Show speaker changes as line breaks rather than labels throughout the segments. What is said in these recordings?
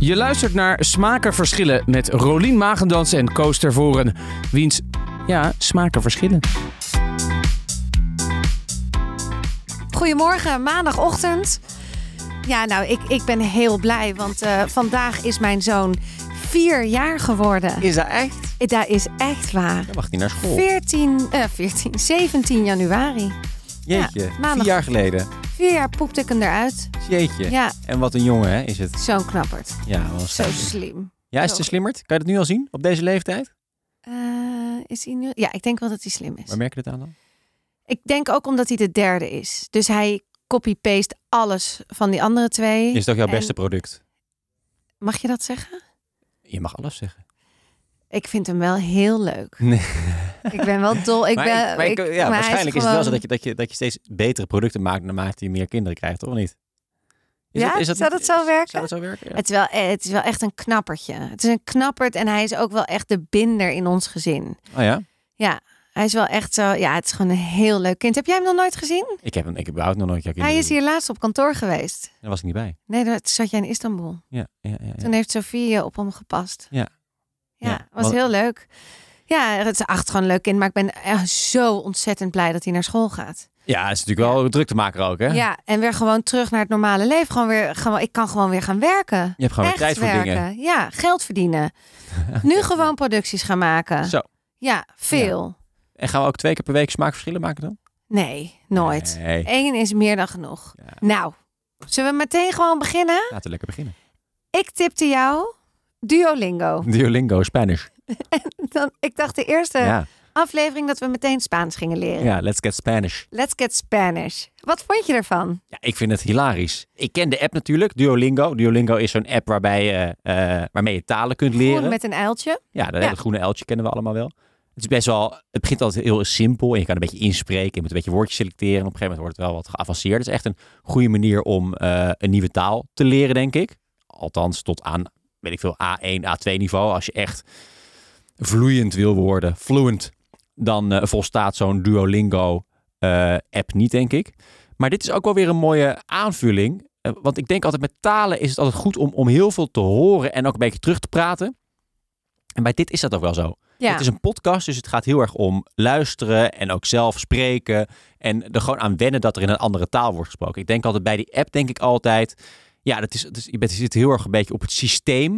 Je luistert naar Smaken Verschillen met Rolien Magendans en Koos Tervoren. Wiens, ja, smaken verschillen.
Goedemorgen, maandagochtend. Ja, nou, ik, ik ben heel blij, want eh, vandaag is mijn zoon vier jaar geworden.
Is dat echt?
Eh, Dat is echt waar.
Dan mag niet naar school.
14, eh 14, 17 januari.
Jeetje,
maandag.
vier jaar geleden.
Vier jaar poepte ik hem eruit.
Jeetje.
Ja,
En wat een jongen, hè, is het?
zo'n knapperd.
Ja, wel
Zo
schattig.
slim.
Ja, is het een slimmerd? Kan je dat nu al zien? Op deze leeftijd?
Eh, is hij nu? Ja, ik denk wel dat hij slim is.
Waar merk je dat aan dan?
Ik denk ook omdat hij de derde is. Dus hij copy-paste alles van die andere twee.
Is het ook jouw
En-
beste product?
Mag je dat zeggen?
Je mag alles zeggen.
Ik vind hem wel heel leuk.
Nee.
Ik ben wel dol. Ik
maar
ben,
ik- maar ik-
ik-
ja,
maar hij
waarschijnlijk is, het wel zo
gewoon-
dat je, dat, je, dat je steeds betere producten maakt naarmate je meer kinderen krijgt, of niet? Is
Ja? Zou dat zo
is-
werken?
Zou dat zo werken? Ja.
Het is, wel, eh, het is wel echt een knappertje. Het is een knappert en hij is ook wel echt de binder in ons gezin.
Oh ja?
Ja, hij is wel echt zo. Ja, het is gewoon een heel leuk kind. Heb jij hem nog nooit gezien?
Ik heb, hem, ik heb überhaupt nog nooit jouw kinderen
Hij is
gezien.
hier laatst op kantoor geweest.
Daar was ik niet bij.
Nee, daar zat jij in Istanbul.
Ja, ja, ja, ja.
Toen heeft Sofie eh, op hem gepast.
Ja.
Ja,
Ja,
was
wat-
heel leuk. Ja, het is acht gewoon een leuk kind. Maar ik ben echt zo ontzettend blij dat hij naar school gaat.
Ja, het is natuurlijk wel druk te maken ook, hè?
Ja, en weer gewoon terug naar het normale leven. Gewoon weer, gewoon, ik kan gewoon weer gaan werken.
Je hebt gewoon weer
Echt
tijd voor dingen.
werken. Ja, geld verdienen. nu gewoon producties gaan maken.
Zo.
Ja, veel.
En gaan we ook twee keer per week smaakverschillen maken dan?
Nee, nooit.
Nee.
Eén is meer dan genoeg.
Ja.
Nou, zullen we meteen gewoon beginnen?
Laten we lekker beginnen.
Ik tipte jou Duolingo.
Duolingo, Spanish.
Dan, ik dacht de eerste
Ja,
aflevering dat we meteen Spaans gingen leren.
ja, let's get Spanish.
Let's get Spanish. Wat vond je ervan?
Ja, ik vind het hilarisch. Ik ken de app natuurlijk, Duolingo. Duolingo is zo'n app waarbij, je, eh, waarmee je talen kunt
Groen
leren.
met een uiltje.
Ja, dat
Ja.
hele groene uiltje kennen we allemaal wel. Het is best wel, het begint altijd heel simpel en je kan een beetje inspreken. Je moet een beetje woordjes selecteren en op een gegeven moment wordt het wel wat geavanceerd. Het is echt een goede manier om eh, een nieuwe taal te leren, denk ik. Althans, tot aan, weet ik veel, A1, A2 niveau. Als je echt vloeiend wil worden, fluent, dan eh, volstaat zo'n Duolingo eh, app niet, denk ik. Maar dit is ook wel weer een mooie aanvulling. eh, want ik denk altijd met talen is het altijd goed om, om heel veel te horen en ook een beetje terug te praten. En bij dit is dat ook wel zo.
Ja.
Het is een podcast, dus het gaat heel erg om luisteren en ook zelf spreken. En er gewoon aan wennen dat er in een andere taal wordt gesproken. Ik denk altijd bij die app, denk ik altijd. Ja, dat is, dat is, je, bent, je zit heel erg een beetje op het systeem.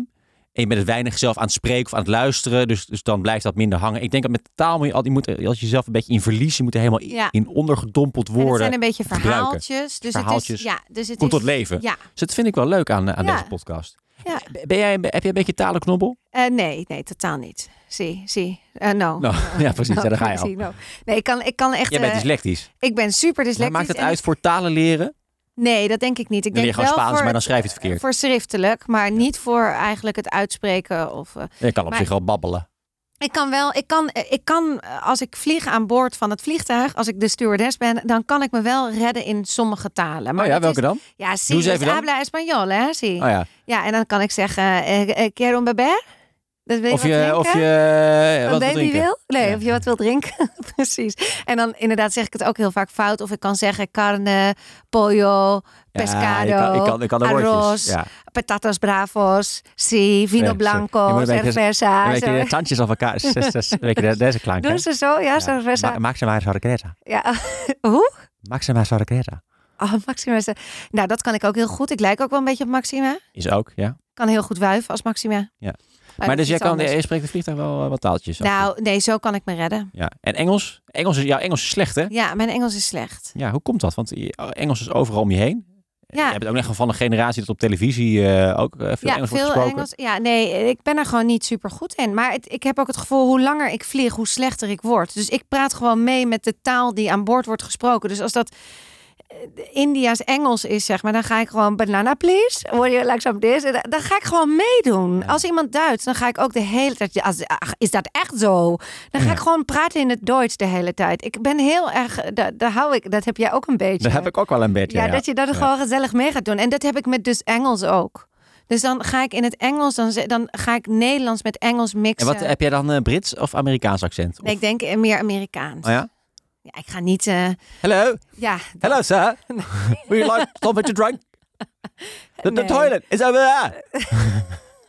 En je bent weinig zelf aan het spreken of aan het luisteren. Dus, dus dan blijft dat minder hangen. Ik denk dat met de taal moet je, altijd- je moet, als je jezelf een beetje in verlies, je moet er helemaal in-
Ja.
in ondergedompeld
En het
worden.
zijn een beetje
gebruiken.
verhaaltjes. Dus
Verhaaltjes.
Het is, ja, dus het
Komt
is,
tot leven.
Ja.
Dus dat vind ik wel leuk aan, aan
Ja.
deze podcast.
Ja.
Ben jij, heb jij een beetje talenknobbel?
Eh, nee, nee, totaal niet. Zie, zie. Eh, no.
Nou, ja, precies. Ja, daar ga je al.
Zie, no. Nee, ik kan, ik kan echt...
Jij bent
eh,
dyslectisch.
ik ben super
Maar
dyslectisch.
maakt het
en-
uit voor talen leren?
Nee, dat denk ik niet. Ik
Dan leer je gewoon
denk wel
Spaans,
voor, eh,
maar dan schrijf je het verkeerd.
voor schriftelijk, maar niet voor eigenlijk het uitspreken. Of, eh,
Je kan op
Maar-
zich wel babbelen.
Ik kan wel, ik kan, eh, ik kan eh, als ik vlieg aan boord van het vliegtuig, als ik de stewardess ben, dan kan ik me wel redden in sommige talen. Maar
oh ja,
dat
welke
is-
dan?
Ja, sí,
Doe eens
dus
even dan.
habla español, hè, sí.
Oh ja.
Ja, en dan kan ik zeggen, eh, eh, quiero un bebé. Dat wil je
Of
wat
je,
drinken?
of je eh, wat
Een
wil
baby
drinken.
wil? Nee,
Ja.
of je wat wil drinken. Precies. En dan inderdaad zeg ik het ook heel vaak fout. Of ik kan zeggen carne, pollo,
Ja,
pescado,
ik kan, ik kan, ik kan de woordjes.
arroz,
Ja.
patatas bravos, sí, vino
Ja,
blanco,
je moet een beetje-
cerveza.
Een beetje
zo.
de tandjes af elkaar. Zes, zes, zes. Een beetje de- deze klank.
Doen
hè?
ze zo? Ja,
Ja.
cerveza.
Ma- Maxima sorpresa.
ja. Hoe?
Maxima sorpresa.
Oh, Maxima. is- Nou, dat kan ik ook heel goed. Ik lijk ook wel een beetje op Maxima.
Is ook, ja.
Kan heel goed wuiven als Maxima.
Ja.
dat
Maar dus
is
jij
iets
kan,
anders.
je spreekt de vliegtuig wel eh, wat taaltjes. af.
Nou, nee, zo kan ik me redden.
Ja. En Engels? Engels is, jouw Engels is slecht, hè?
Ja, mijn Engels is slecht.
Ja, hoe komt dat? Want je- Engels is overal om je heen.
Ja.
Je hebt ook echt wel van een generatie dat op televisie eh, ook eh, veel
ja,
Engels wordt gesproken.
Ja, nee, ik ben er gewoon niet super goed in. Maar het- ik heb ook het gevoel, hoe langer ik vlieg, hoe slechter ik word. Dus ik praat gewoon mee met de taal die aan boord wordt gesproken. Dus als dat eh, India's Engels is, zeg maar, dan ga ik gewoon banana please. Word je langzaam this? En da- Dan ga ik gewoon meedoen. Als iemand Duits, dan ga ik ook de hele tijd. ja, als- ach, is dat echt zo? Dan ga ik gewoon praten in het Duits de hele tijd. Ik ben heel erg. da- Daar hou ik. Dat heb jij ook een beetje.
Daar heb ik ook wel een beetje.
Ja, dat je dat
Ja.
gewoon gezellig mee gaat doen. En dat heb ik met dus Engels ook. Dus dan ga ik in het Engels, dan, ze- dan ga ik Nederlands met Engels
En
mixen.
wat heb jij dan eh, Brits of Amerikaans accent?
Nee, ik denk eh, meer Amerikaans.
Of- Oh ja?
Ja, ik ga niet... eh,
Hello,
ja, dat-
hello sir. Would you like something to drink? The, the
Nee.
toilet is over there.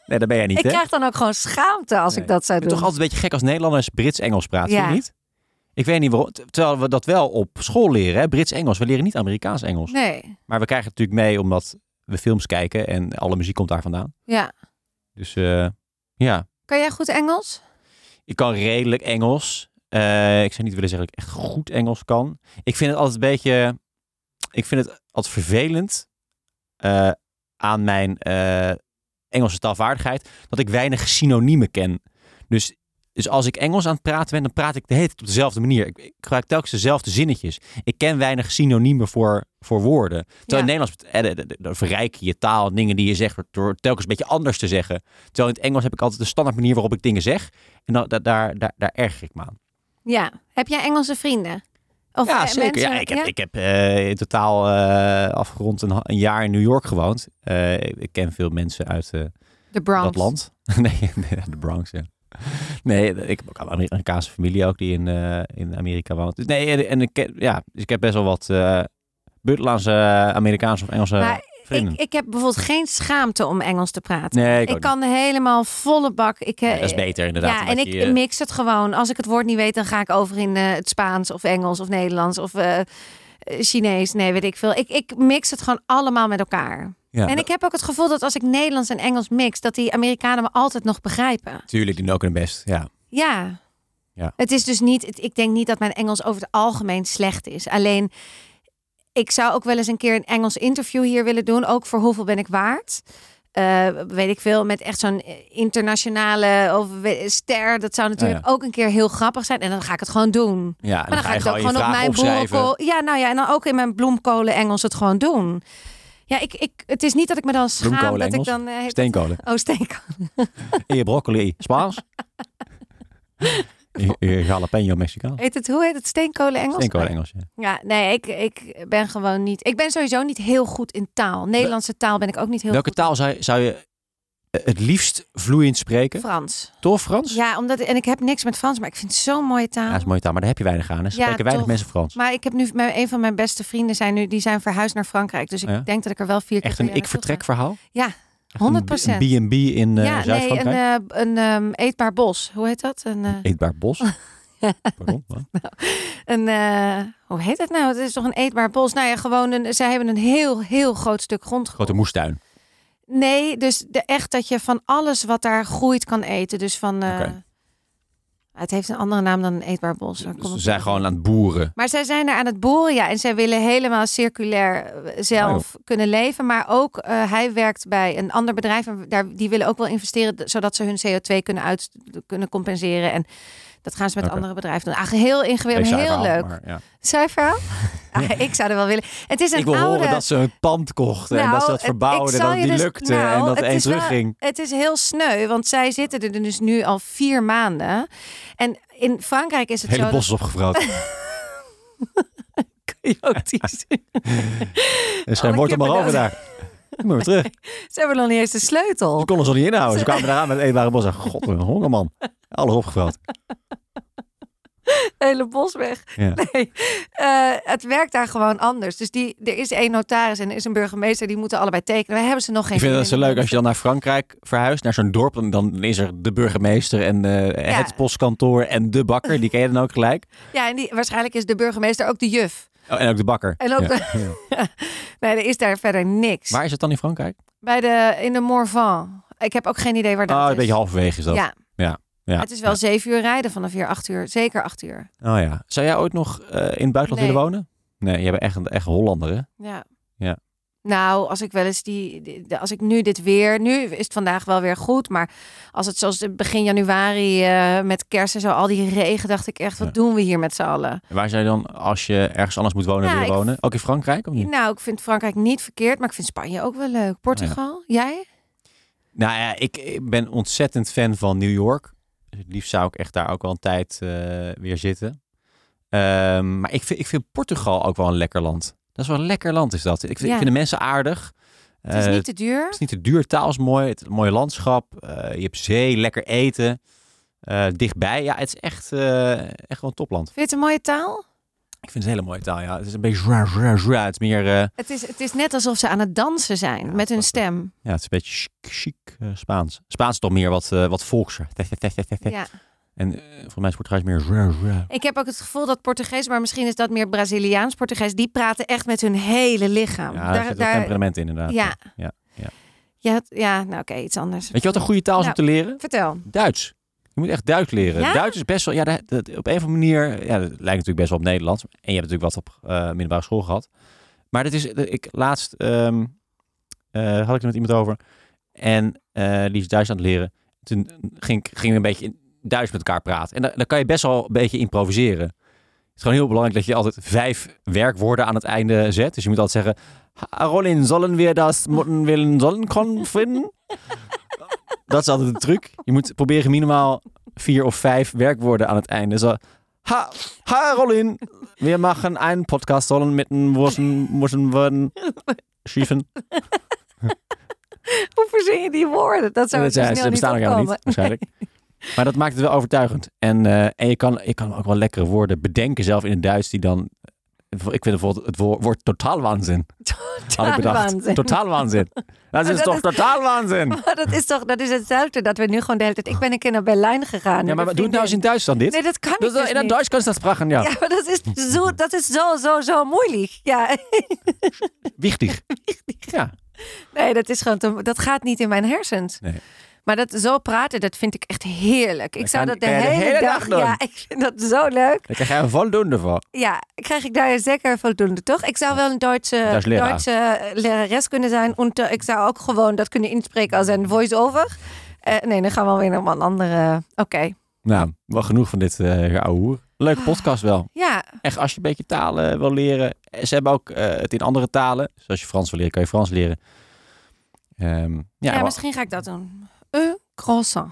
nee, dat ben jij niet,
Ik
hè?
krijg dan ook gewoon schaamte als
Nee.
ik dat zou
Het
doen.
is toch altijd een beetje gek als Nederlanders Brits-Engels praten, vind
Ja.
je niet? Ik weet niet waarom. Ter- Terwijl we dat wel op school leren, hè? Brits-Engels. We leren niet Amerikaans-Engels.
Nee,
Maar we krijgen het natuurlijk mee omdat we films kijken en alle muziek komt daar vandaan.
ja.
Dus eh, ja,
Kan jij goed Engels?
ik kan redelijk Engels. Eh, ik zou niet willen zeggen dat ik echt goed Engels kan. Ik vind het altijd een beetje... Ik vind het altijd vervelend eh, aan mijn eh, Engelse taalvaardigheid... dat ik weinig synoniemen ken. Dus, dus als ik Engels aan het praten ben... dan praat ik de hele tijd op dezelfde manier. Ik, ik gebruik telkens dezelfde zinnetjes. Ik ken weinig synoniemen voor, voor woorden.
Ja.
Terwijl in Nederlands eh, de- de- de- verrijk je je taal... dingen die je zegt door- door telkens een beetje anders te zeggen. Terwijl in het Engels heb ik altijd de standaard manier waarop ik dingen zeg... En da- da- daar, daar, daar erger ik me aan.
Ja. Heb jij Engelse vrienden? Of
ja,
eh,
zeker.
mensen-
Ja, ik heb, Ik heb eh, in totaal eh, afgerond een, ha- een jaar in New York gewoond. Eh, ik- ik ken veel mensen uit eh,
de Bronx.
dat land. nee, nee, de Bronx, ja. Nee, ik heb ook een Amerikaanse familie ook die in, eh, in Amerika woont. Dus nee, en- en ik, ken- ja, dus ik heb best wel wat eh buitenlandse eh, Amerikaanse of Engelse
Maar
vrienden.
Ik, ik heb bijvoorbeeld geen schaamte om Engels te praten.
nee, ik,
ik
ook niet.
kan helemaal volle bak. Ik, eh,
Nee, dat is beter inderdaad.
Ja, en
omdat
ik
je, eh,
mix het gewoon. Als ik het woord niet weet, dan ga ik over in eh, het Spaans of Engels of Nederlands of eh, eh, Chinees. Nee, weet ik veel. Ik, ik mix het gewoon allemaal met elkaar.
ja,
en ik heb ook het gevoel dat als ik Nederlands en Engels mix, dat die Amerikanen me altijd nog begrijpen.
Tuurlijk, die doen ook hun best. Ja.
Ja.
Ja.
Het is dus niet, het- ik denk niet dat mijn Engels over het algemeen slecht is. Alleen, ik zou ook wel eens een keer een Engels interview hier willen doen. Ook voor hoeveel ben ik waard? Eh, weet ik veel, met echt zo'n eh, internationale of we- ster. Dat zou natuurlijk ook een keer heel grappig zijn. En dan ga ik het gewoon doen.
ja Ah, en
Maar dan,
ga je
ga ik het
gewoon
ook
je
gewoon op
vragen
mijn
opschrijven.
bloemkool. Ja, nou ja, en dan ook in mijn bloemkolen Engels het gewoon doen. Ja, ik, ik, het is niet dat ik me dan schaam dat ik
Bloemkolen-Engels?
dan... eh, heet-
Steenkolen.
Oh, steenkolen.
En je broccoli Spaans. je, je jalapeno Mexicaans.
Heet het, hoe heet het? Steenkolen Engels?
Steenkool Engels, ja.
Ja, nee, ik, ik ben gewoon niet. Ik ben sowieso niet heel goed in taal. Nederlandse taal ben ik ook niet heel
Welke
goed. in.
taal zou, zou je eh, het liefst vloeiend spreken?
Frans.
Toch Frans?
Ja, omdat en ik heb niks met Frans, maar ik vind het zo'n mooie taal.
Ja, dat is een mooie taal, maar daar heb je weinig aan. Er
Ja,
spreken weinig
toch.
mensen Frans.
Maar ik heb nu mijn, een van mijn beste vrienden zijn nu die zijn verhuisd naar Frankrijk, dus ik
Ja.
denk dat ik er wel vier keer
Echt
per
een
jaar
ik vertrek
naartoe
verhaal?
Ja,
Echt
ga.
een
100
B- een B&B in eh,
ja, nee, een,
Zuid-Frankrijk?
eh, een ehm, eetbaar bos. Hoe heet dat? Een, eh,
Eetbaar bos? Pardon? wat?
een eh, hoe heet dat nou? Het is toch een eetbaar bos? Nou ja, gewoon een. Zij hebben een heel, heel groot stuk grond. gekocht.
Grote moestuin.
Nee, dus de, echt dat je van alles wat daar groeit kan eten. Dus van. eh,
Oké.
Het heeft een andere naam dan een eetbaar bos. Daar kom
Dus ze
ik
zijn
op.
gewoon aan het boeren.
Maar zij zijn daar aan het boeren, ja. En zij willen helemaal circulair eh,
Oh,
zelf kunnen leven. Maar ook, eh, hij werkt bij een ander bedrijf. En daar, die willen ook wel investeren, d- zodat ze hun CO2 kunnen, uit, kunnen compenseren. En dat gaan ze met
Oké.
andere bedrijven doen. Eigenlijk heel ingewikkeld,
Even
heel
saai verhaal,
leuk.
maar ja.
Zijn verhaal? Ah, ik zou er wel willen. Het is een
Ik wil
oude...
horen dat ze een pand kochten en
Nou,
dat ze dat
het- ik
verbouwden en
zal
dat het
je
niet
dus-
lukte
nou,
en dat
het
er één
is wel-
terugging.
Het is heel sneu, want zij zitten er dus nu al vier maanden. En in Frankrijk is het
Het hele
zo...
bos is opgevroten.
dat- Kun je ook die zien?
Er schijn
Alle
wordt er maar over
kippen
daar. Kom maar weer terug. Ze
Ze hebben nog niet eens de sleutel.
konden ze al niet inhouden. Ze kwamen eraan met eetbare bos. En god, een hongerman. Alles opgeveld.
Het hele bos weg.
Ja.
Nee, eh, het werkt daar gewoon anders. Dus die, er is één notaris en er is een burgemeester. Die moeten allebei tekenen. Wij hebben ze nog geen
Ik vind dat
zin
zo
in.
leuk als je dan naar Frankrijk verhuist, naar zo'n dorp. Dan, dan is er de burgemeester en eh,
Ja.
het postkantoor en de bakker. Die ken je dan ook gelijk.
Ja, en die, waarschijnlijk is de burgemeester ook de juf.
Oh, en ook de bakker.
En ook
Ja.
de-
Ja.
Nee, er is daar verder niks.
Waar is het dan in Frankrijk?
Bij de, in de Morvan. Ik heb ook geen idee waar dat
Oh,
is.
een beetje halverwege is dat.
Ja.
Ja, ja,
Het is wel zeven uur rijden vanaf hier, acht uur. Zeker acht uur.
Oh ja. Zou jij ooit nog eh, in het buitenland
Nee.
willen wonen? Nee, jij bent echt een echt een Hollander, hè?
Ja.
Ja.
Nou, als ik wel eens die, die- de- als ik nu dit weer, nu is het vandaag wel weer goed, maar als het zoals begin januari eh, met kerst en zo, al die regen, dacht ik echt, wat
Ja.
doen we hier met z'n allen?
En waar zou je dan, als je ergens anders moet wonen,
Nou,
willen
ik-
wonen? Ook in Frankrijk? Of niet?
Nou, ik vind Frankrijk niet verkeerd, maar ik vind Spanje ook wel leuk. Portugal, jij?
Nou ja, ik ik ben ontzettend fan van New York. Dus het liefst zou ik echt daar ook wel een tijd eh, weer zitten. Ehm, maar ik vind, ik vind Portugal ook wel een lekker land. Dat is wel een lekker land, is dat. Ik vind,
Ja.
ik vind de mensen aardig.
Het is
Eh,
niet te duur.
het is niet te duur. Taal is mooi. Het is een mooi landschap. Eh, je hebt zee, lekker eten. Eh, dichtbij. Ja, het is echt, eh, echt wel een topland.
Vind je het een mooie taal?
Ik vind het een hele mooie taal, ja. Het is een beetje... zwa, zwa, zwa. Het is meer... eh,
Het is, het is net alsof ze aan het dansen zijn met
dat
hun
is-
stem.
ja, het is een beetje chic, chic, eh, Spaans. Spaans is toch meer wat, eh wat volkser.
Ja.
En eh, volgens mij is Portugees meer... zwa, zwa.
Ik heb ook het gevoel dat Portugees, maar misschien is dat meer Braziliaans Portugees, die praten echt met hun hele lichaam.
Ja, daar zit wel temperament in, inderdaad.
Nou, ja.
Ja, ja.
Ja, het- ja, nou oké, iets anders.
Weet je wat een goede taal is om
Nou.
te leren?
Vertel.
Duits. Je moet echt Duits leren.
Ja?
Duits is best wel, ja, dat, dat- op een of andere manier, ja, dat lijkt natuurlijk best wel op Nederlands. En je hebt natuurlijk wat op eh, middelbare school gehad. Maar dat is, dat- ik laatst ehm, eh, had ik er met iemand over. En eh, die is Duits aan het leren. Toen ging, ik- gingen we een beetje in Duits met elkaar praten. En dan, dan kan je best wel een beetje improviseren. Het is gewoon heel belangrijk dat je altijd vijf werkwoorden aan het einde zet. Dus je moet altijd zeggen... Rolin, zullen we dat moeten willen zullen kon vinden? Dat is altijd een truc. Je moet proberen minimaal vier of vijf werkwoorden aan het einde. Zo, ha, ha Rolin, we maken een podcast zullen met een woorden, moeten worden schieven.
Hoe verzin je die woorden? Dat zou ik
Dat
zo
zijn-
snel
Ze
niet
bestaan ook helemaal
opkomen.
niet, waarschijnlijk. Maar dat maakt het wel overtuigend. En, eh, en je, kan, je kan ook wel lekkere woorden bedenken zelf in het Duits die dan... Ik vind bijvoorbeeld het woord, woord totaal waanzin. Had ik bedacht.
Waanzin.
Totaal waanzin. Dat is
dat
toch
is-
totaal waanzin?
Maar dat is toch dat is hetzelfde dat we nu gewoon de hele tijd... Ik ben een keer naar Berlijn gegaan.
Ja, maar
Met
doe het nou
een
eens in Duitsland dit.
vriendin. Nee, dat
Dat
kan ik
is wel-
dus
in het
niet.
Duits kan je dat sprachen, ja.
Ja, maar dat is zo, dat is zo, zo, zo moeilijk. Ja,
Wichtig. Ja.
nee, dat is gewoon te- dat gaat niet in mijn hersens.
Nee.
Maar dat zo praten, dat vind ik echt heerlijk. Ik zou
kan-
dat de
kan je
hele, dag,
doen.
ja, ik vind dat zo leuk.
Daar krijg je een voldoende voor.
Ja, krijg ik daar zeker voldoende toch? Ik zou wel een Duitse,
Duits leraar.
Duitse eh, lerares kunnen zijn. En eh, ik zou ook gewoon dat kunnen inspreken als een voice-over. Eh, nee, dan gaan we weer naar een andere. Oké,
Nou, wel genoeg van dit eh ouwe hoer. Leuke podcast wel.
ja.
Echt, als je een beetje talen wil leren. eh, Ze hebben ook eh, het in andere talen. Dus als je Frans wil leren, kan je Frans leren. Ehm, ja,
Ja,
wa-
misschien ga ik dat doen. Een croissant.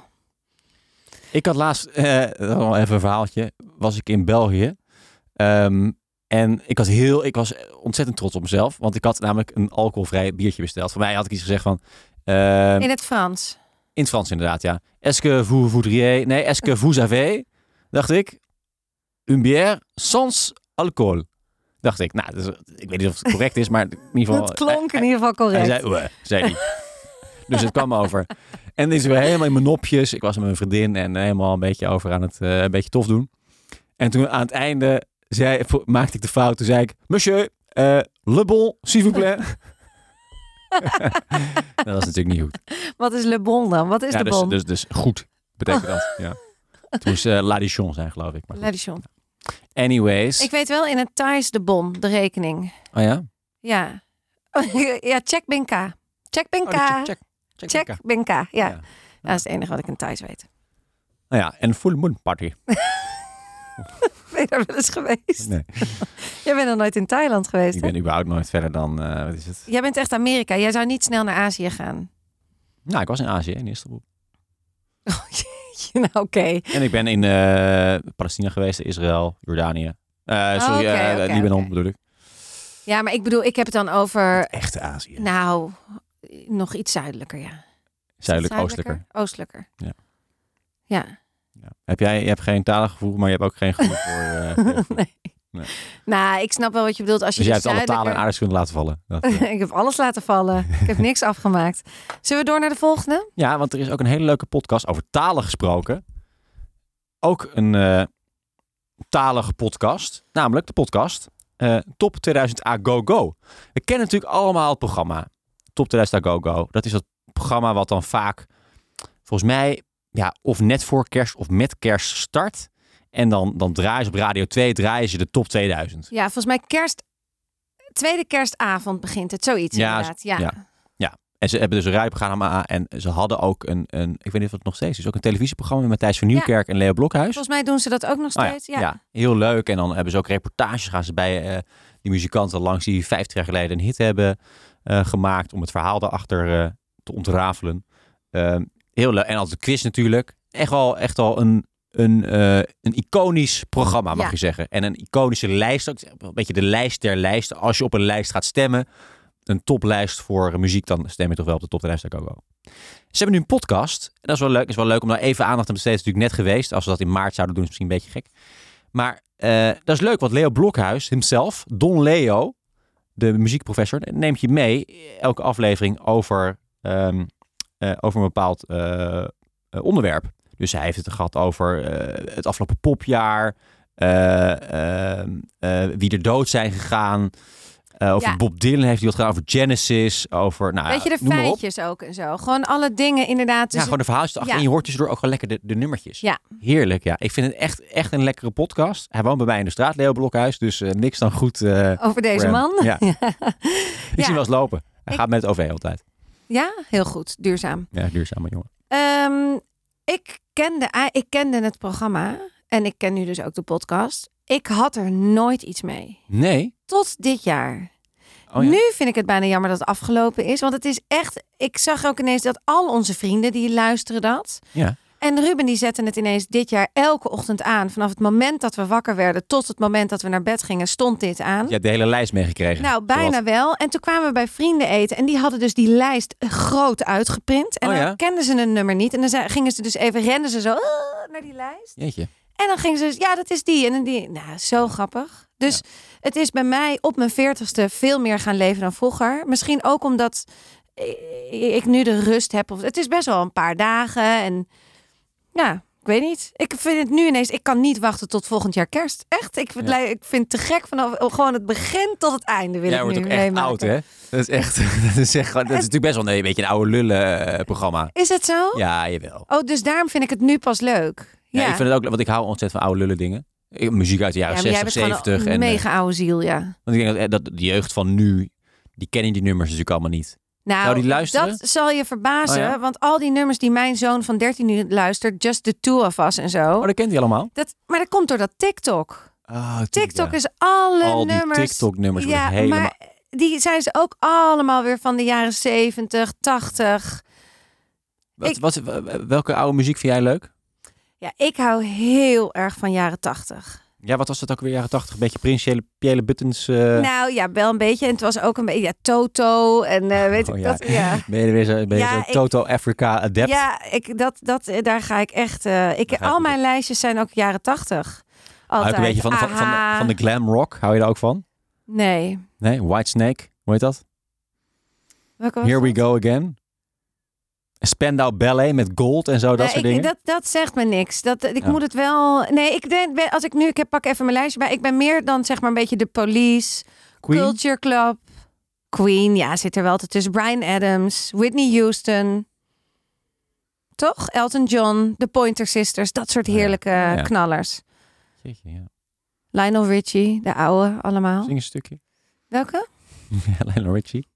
ik had laatst, eh, dat was wel even een verhaaltje, was ik in België. Ehm, en ik was, heel, ik was ontzettend trots op mezelf. Want ik had namelijk een alcoholvrij biertje besteld. Voor mij had ik iets gezegd van... ehm,
In het Frans.
In het Frans inderdaad, ja. Est-ce que vous voudriez... Nee, est-ce que vous avez... Dacht ik. Une bière sans alcohol. Dacht ik. Nou, dus, ik weet niet of het correct is, maar in ieder geval...
Het klonk in
hij-
ieder geval
Hij,
correct.
hij zei... "Oeh," zei hij. dus het kwam over. En dit is weer helemaal in mijn nopjes. Ik was met mijn vriendin en helemaal een beetje over aan het... eh, een beetje tof doen. En toen aan het einde zei, vo- maakte ik de fout. Toen zei ik... Monsieur, eh le bon, s'il vous plaît. dat was natuurlijk niet goed.
Wat is Le Bon dan? Wat is
Ja,
de
dus,
Bon?
dus, dus goed betekent dat. Ja. Het moest eh, La Dijon zijn, geloof ik. Maar goed.
Ladichon.
Anyways.
Ik weet wel in het Thais de Bon, de rekening.
Oh ja?
Ja. ja, check Binka. Check
Oh,
Binka.
check, check, check.
check
check.
Binka. Ja.
Ja.
dat is het enige wat ik in Thais weet.
Nou ja, en Full Moon Party.
Ben je daar wel eens geweest?
Nee,
Jij bent nog nooit in Thailand geweest,
ik
hè?
ben überhaupt nooit verder dan, eh, wat is het?
Jij bent echt Amerika. Jij zou niet snel naar Azië gaan.
Nou, ik was in Azië, in Istanbul.
nou, oké.
En ik ben in eh, Palestina geweest, Israël, Jordanië. Eh,
Oh,
sorry,
oké,
eh,
oké,
Libanon
oké.
bedoel ik.
Ja, maar ik bedoel, ik heb het dan over...
Echte Azië.
Nou, nog iets zuidelijker, ja. Is dat
Zuidelijk, oostelijker.
Oostelijker.
Ja.
Ja.
Ja. Heb jij je hebt geen talengevoel, maar je hebt ook geen gevoel voor... eh, voor-
Nee.
Nee.
Nou, ik snap wel wat je bedoelt. Als je
dus jij
iets
hebt alle talen en aardrijkskunde
zuidelijker-
laten vallen. Dat, eh.
ik heb alles laten vallen. Ik heb niks afgemaakt. Zullen we door naar de volgende?
Ja, want er is ook een hele leuke podcast over talen gesproken. Ook een eh, talige podcast, namelijk de podcast eh, Top 2000 A Go Go. We kennen natuurlijk allemaal het programma Top 2000 A Go Go. Dat is dat programma wat dan vaak, volgens mij, ja, of net voor kerst of met kerst start. En dan, dan draaien ze op Radio 2, draaien ze de Top 2000.
Ja, volgens mij kerst... Tweede kerstavond begint het, zoiets
Ja,
inderdaad. Ja.
ja. En ze hebben dus een rijprogramma en ze hadden ook een, een, ik weet niet of het nog steeds is, ook een televisieprogramma met Matthijs van
Ja.
Nieuwkerk en Leo Blokhuis.
Volgens mij doen ze dat ook nog
Oh ja,
steeds.
ja.
ja.
heel leuk. En dan hebben ze ook reportages gaan ze bij eh, die muzikanten langs die 50 jaar geleden een hit hebben eh, gemaakt om het verhaal daarachter eh, te ontrafelen. Ehm, heel leuk. En altijd een quiz natuurlijk. Echt wel, echt al een, een, eh, een iconisch programma, mag
Ja.
je zeggen. En een iconische lijst. Ook een beetje de lijst der lijsten. Als je op een lijst gaat stemmen, een toplijst voor muziek, dan stem je toch wel op de toplijst daar Coco. Ze hebben nu een podcast. En dat is wel leuk. is wel leuk om daar even aandacht aan te besteden. Het is natuurlijk net geweest. Als we dat in maart zouden doen, is het misschien een beetje gek. Maar eh, dat is leuk, want Leo Blokhuis himself, Don Leo, de muziekprofessor, neemt je mee elke aflevering over, ehm, eh, over een bepaald eh, eh, onderwerp. Dus hij heeft het gehad over eh, het afgelopen popjaar, eh, ehm, eh, wie er dood zijn gegaan. eh, over
Ja.
Bob Dylan heeft hij wat gedaan, over Genesis, over... Nou,
Weet je, de
noem maar op.
feitjes ook en zo. Gewoon alle dingen inderdaad.
ja,
Dus
gewoon de verhaaltjes erachter.
ja.
En je hoort tussendoor ook gewoon lekker de, de nummertjes.
Ja.
Heerlijk, ja. Ik vind het echt, echt een lekkere podcast. Hij woont bij mij in de straat, Leo Blokhuis. Dus eh, niks dan goed. eh,
over deze
voor hem.
man.
Ja. Ik zie hem wel eens lopen. Hij
Ik-
gaat met het OV altijd.
ja, heel goed. Duurzaam.
Ja, duurzame jongen.
Ehm, ik, kende, ah, ik kende het programma en ik ken nu dus ook de podcast. Ik had er nooit iets mee.
Nee.
Tot dit jaar.
Oh, ja.
Nu vind ik het bijna jammer dat het afgelopen is. Want het is echt. Ik zag ook ineens dat al onze vrienden die luisteren dat.
Ja.
En Ruben die zette het ineens dit jaar elke ochtend aan. Vanaf het moment dat we wakker werden tot het moment dat we naar bed gingen, stond dit aan.
Je hebt de hele lijst meegekregen.
Nou, bijna
Wat?
wel. En toen kwamen we bij vrienden eten en die hadden dus die lijst groot uitgeprint. En
Oh ja?
dan kenden ze een nummer niet. En dan zei- gingen ze dus even, renden ze zo "Ah," naar die lijst.
Jeetje.
En dan gingen ze dus, ja, dat is die en dan die. Nou, zo grappig. Dus het is bij mij op mijn veertigste veel meer gaan leven dan vroeger. Misschien ook omdat i- ik nu de rust heb. Of, het is best wel een paar dagen en ja, ik weet niet. Ik vind het nu ineens, ik kan niet wachten tot volgend jaar kerst. Echt, ik, vind-
Ja.
ik vind het te gek vanaf gewoon het begin tot het einde wil
Jij
ik
wordt
nu
ook echt
meemaken.
oud, hè? Dat is echt... Dat is, echt, gewoon- dat is natuurlijk best wel een beetje een oude lullen eh, programma.
Is het zo?
Ja, jawel.
Oh, dus daarom vind ik het nu pas leuk.
Ja.
Ja,
ik vind het ook... Want ik hou ontzettend van oude lullen dingen. Ik- Muziek uit de jaren
Ja, maar jij
60,
bent gewoon
70.
een
en, eh,
mega oude ziel, ja.
Want ik denk dat, eh, dat de jeugd van nu, die kennen die nummers natuurlijk allemaal niet.
Nou,
Zou die luisteren?
dat zal je verbazen.
Oh ja?
Want al die nummers die mijn zoon van 13 nu luistert, Just the Two of Us en zo.
Oh, dat kent hij allemaal?
dat, maar dat komt door dat TikTok.
Oh,
TikTok is alle
Al die
nummers.
TikTok-nummers
ja,
worden helemaal...
maar die zijn ze ook allemaal weer van de jaren 70, 80.
Wat,
ik-
wat, welke oude muziek vind jij leuk?
Ja, ik hou heel erg van jaren 80.
Ja, wat was dat ook weer jaren tachtig? Een beetje Prinsjele Piele Buttons. eh
Nou ja, wel een beetje. En het was ook een beetje ja, Toto en eh, weet
Oh,
ik
ja.
dat. Ja.
Ben je er weer zo, ben je
Ja,
zo
ik-
Toto Africa Adept?
Ja, ik, dat, dat, eh, daar ga ik echt. eh, ik,
Daar ga je
al
goed
mijn lijstjes zijn ook jaren 80.
Hou
Altijd.
ik een beetje van, de- van, van, de,
Aha.
van de glam rock. Hou je daar ook van?
Nee.
Nee, White Snake. Hoe heet dat?
Welke was
Here
dat?
We Go Again. Spandau Ballet met gold en zo, dat
Nee,
soort
ik-
dingen.
Dat, dat zegt me niks. Dat, ik
Ja.
moet het wel. Nee, ik denk, ben- als ik nu. Ik heb, pak even mijn lijstje bij. Ik ben meer dan zeg maar een beetje de police,
Queen.
Culture Club. Queen, ja, zit er wel altijd tussen. Brian Adams, Whitney Houston. Toch? Elton John, de Pointer Sisters, dat soort
Ja.
heerlijke
Ja.
knallers.
Jeetje, ja.
Lionel Richie, de oude allemaal.
Zing een stukje.
Welke?
Ja, Lionel Richie.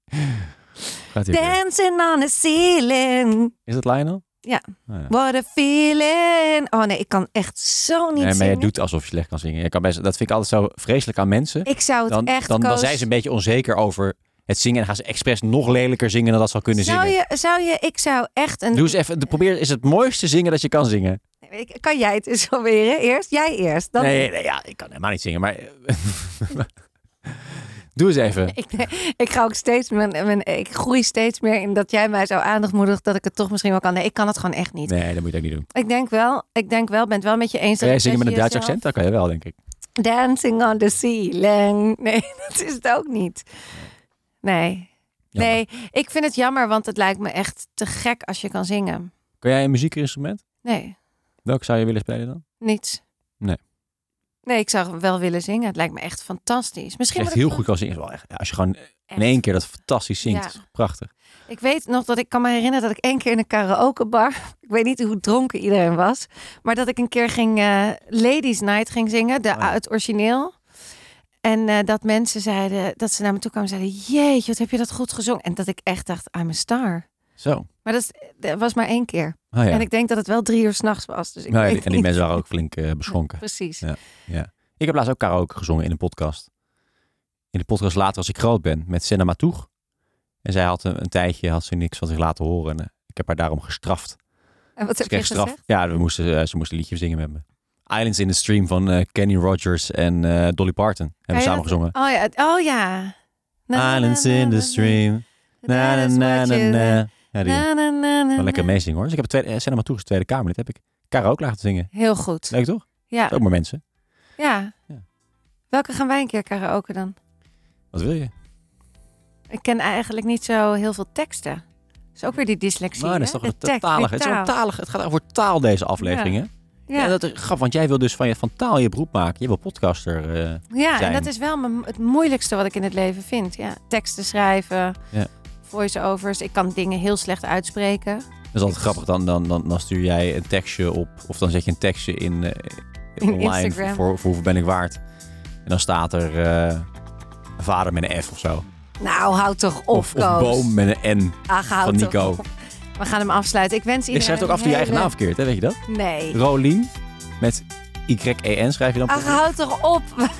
Gaat hij weer.
Dancing on the ceiling.
Is dat Lionel?
Ja.
Oh, ja.
What a feeling. Oh nee, ik kan echt zo niet
Nee, maar jij
zingen.
doet alsof je slecht kan zingen. Je kan best, dat vind ik altijd zo vreselijk aan mensen.
Ik zou het
Dan,
echt
dan, dan
Koos,
zijn ze een beetje onzeker over het zingen. En dan gaan ze expres nog lelijker zingen dan dat ze al kunnen
zou
zingen.
Je, zou je, ik zou echt een...
Doe eens even, de- probeer is het mooiste zingen dat je kan zingen.
Nee, ik- Kan jij het eens proberen? Eerst? Jij eerst. Dan...
Nee, nee, ja, ik kan helemaal niet zingen, maar... Doe eens even.
Ik, ik ga ook steeds... Mijn, mijn, ik groei steeds meer in dat jij mij zo aandacht moedigt dat ik het toch misschien wel kan. Nee, ik kan het gewoon echt niet.
Nee, dat moet je ook niet doen.
Ik denk wel, ik denk wel, ben het wel met je eens.
Kan jij zingen
dat
met een
je
Duits
jezelf-
accent? Dat kan je wel, denk ik.
Dancing on the ceiling. Nee, dat is het ook niet. Nee.
Jammer.
Nee, ik vind het jammer, want het lijkt me echt te gek als je kan zingen.
Kan jij een muziekinstrument?
Nee,
Welk zou je willen spelen dan?
niets.
Nee.
Nee, ik zou wel willen zingen. Het lijkt me echt fantastisch. Misschien
Echt
moet ik
heel goed kan zingen. is wel echt- Als je gewoon
Echt.
in één keer dat fantastisch zingt,
Ja.
is prachtig.
Ik weet nog dat ik kan me herinneren dat ik één keer in een karaokebar, ik weet niet hoe dronken iedereen was, maar dat ik een keer ging eh, Ladies Night ging zingen, de,
Oh ja.
het origineel. En eh, dat mensen zeiden, dat ze naar me toe kwamen en zeiden, jeetje, wat heb je dat goed gezongen? En dat ik echt dacht, I'm a star.
Zo.
Maar dat, is- dat was maar één keer.
Oh, ja.
En ik denk dat het wel drie uur s'nachts was. Dus ik
Nou ja,
weet
die- en die
niet
mensen waren ook flink eh, beschonken.
Precies.
Ja. Ik heb laatst ook karaoke gezongen in een podcast. In de podcast Later als ik groot ben met Senna Matoeg. En zij had een, een tijdje had ze niks van zich laten horen. En, eh, ik heb haar daarom gestraft.
En wat
Ze
heb je
kreeg straf.
gezegd?
Ja, we moesten, eh, ze moest een liedje zingen met me. Islands in the Stream van eh, Kenny Rogers en eh, Dolly Parton. Hebben
je
we samen
dat-
gezongen.
Oh ja. het- Oh ja. Na,
Islands
na, na,
in
na,
the
na.
Stream. Na, na,
That is
na,
what
na,
you-
na. Ja, die.
Na, na, na, na,
Wel lekker
na.
meezingen hoor. Dus ik heb tweede, eh, Senna Matoeg is de Tweede Kamer. Dit heb ik karaoke laten zingen.
Heel goed.
Leuk toch?
Ja.
Ook maar mensen.
Ja.
Ja.
Welke gaan wij een keer karaoke dan?
Wat wil je?
Ik ken eigenlijk niet zo heel veel teksten. Dat is ook weer die dyslexie.
Maar dat is
hè?
toch een
De tekst,
talig.
die
Het, is
taal.
een talig. het gaat over taal deze aflevering, hè? Ja.
Ja, ja,
dat is grappig, want jij wil dus van, je, van taal je beroep maken. Je wil podcaster. eh,
en
zijn.
dat is wel mijn, het moeilijkste wat ik in het leven vind. Ja, teksten schrijven,
Ja.
voice-overs. Ik kan dingen heel slecht uitspreken.
dat is altijd grappig. Dan, dan, dan, dan stuur jij een tekstje op. Of dan zet je een tekstje in, eh,
In
online
Instagram.
Voor, voor hoeveel ben ik waard. En dan staat er eh, vader met een F of zo.
Nou, houd toch op,
Of, of
Koos.
boom met een N.
Ach, houd
van
toch
Nico.
op. We gaan hem afsluiten. Ik wens
Je
iedereen
schrijft ook af en toe
die
je eigen naam verkeerd, hè? weet je dat?
Nee.
Rolien met Y-E-N schrijf je dan.
Ach, houd toch op.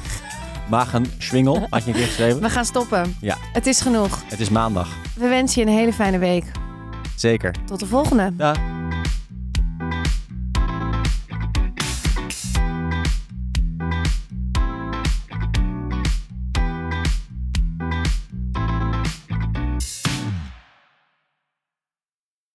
Magen Schwingel had je een keer geschreven.
We gaan stoppen.
Ja.
Het is genoeg.
Het is maandag.
We wensen je een hele fijne week.
Zeker.
Tot de volgende.
Dag.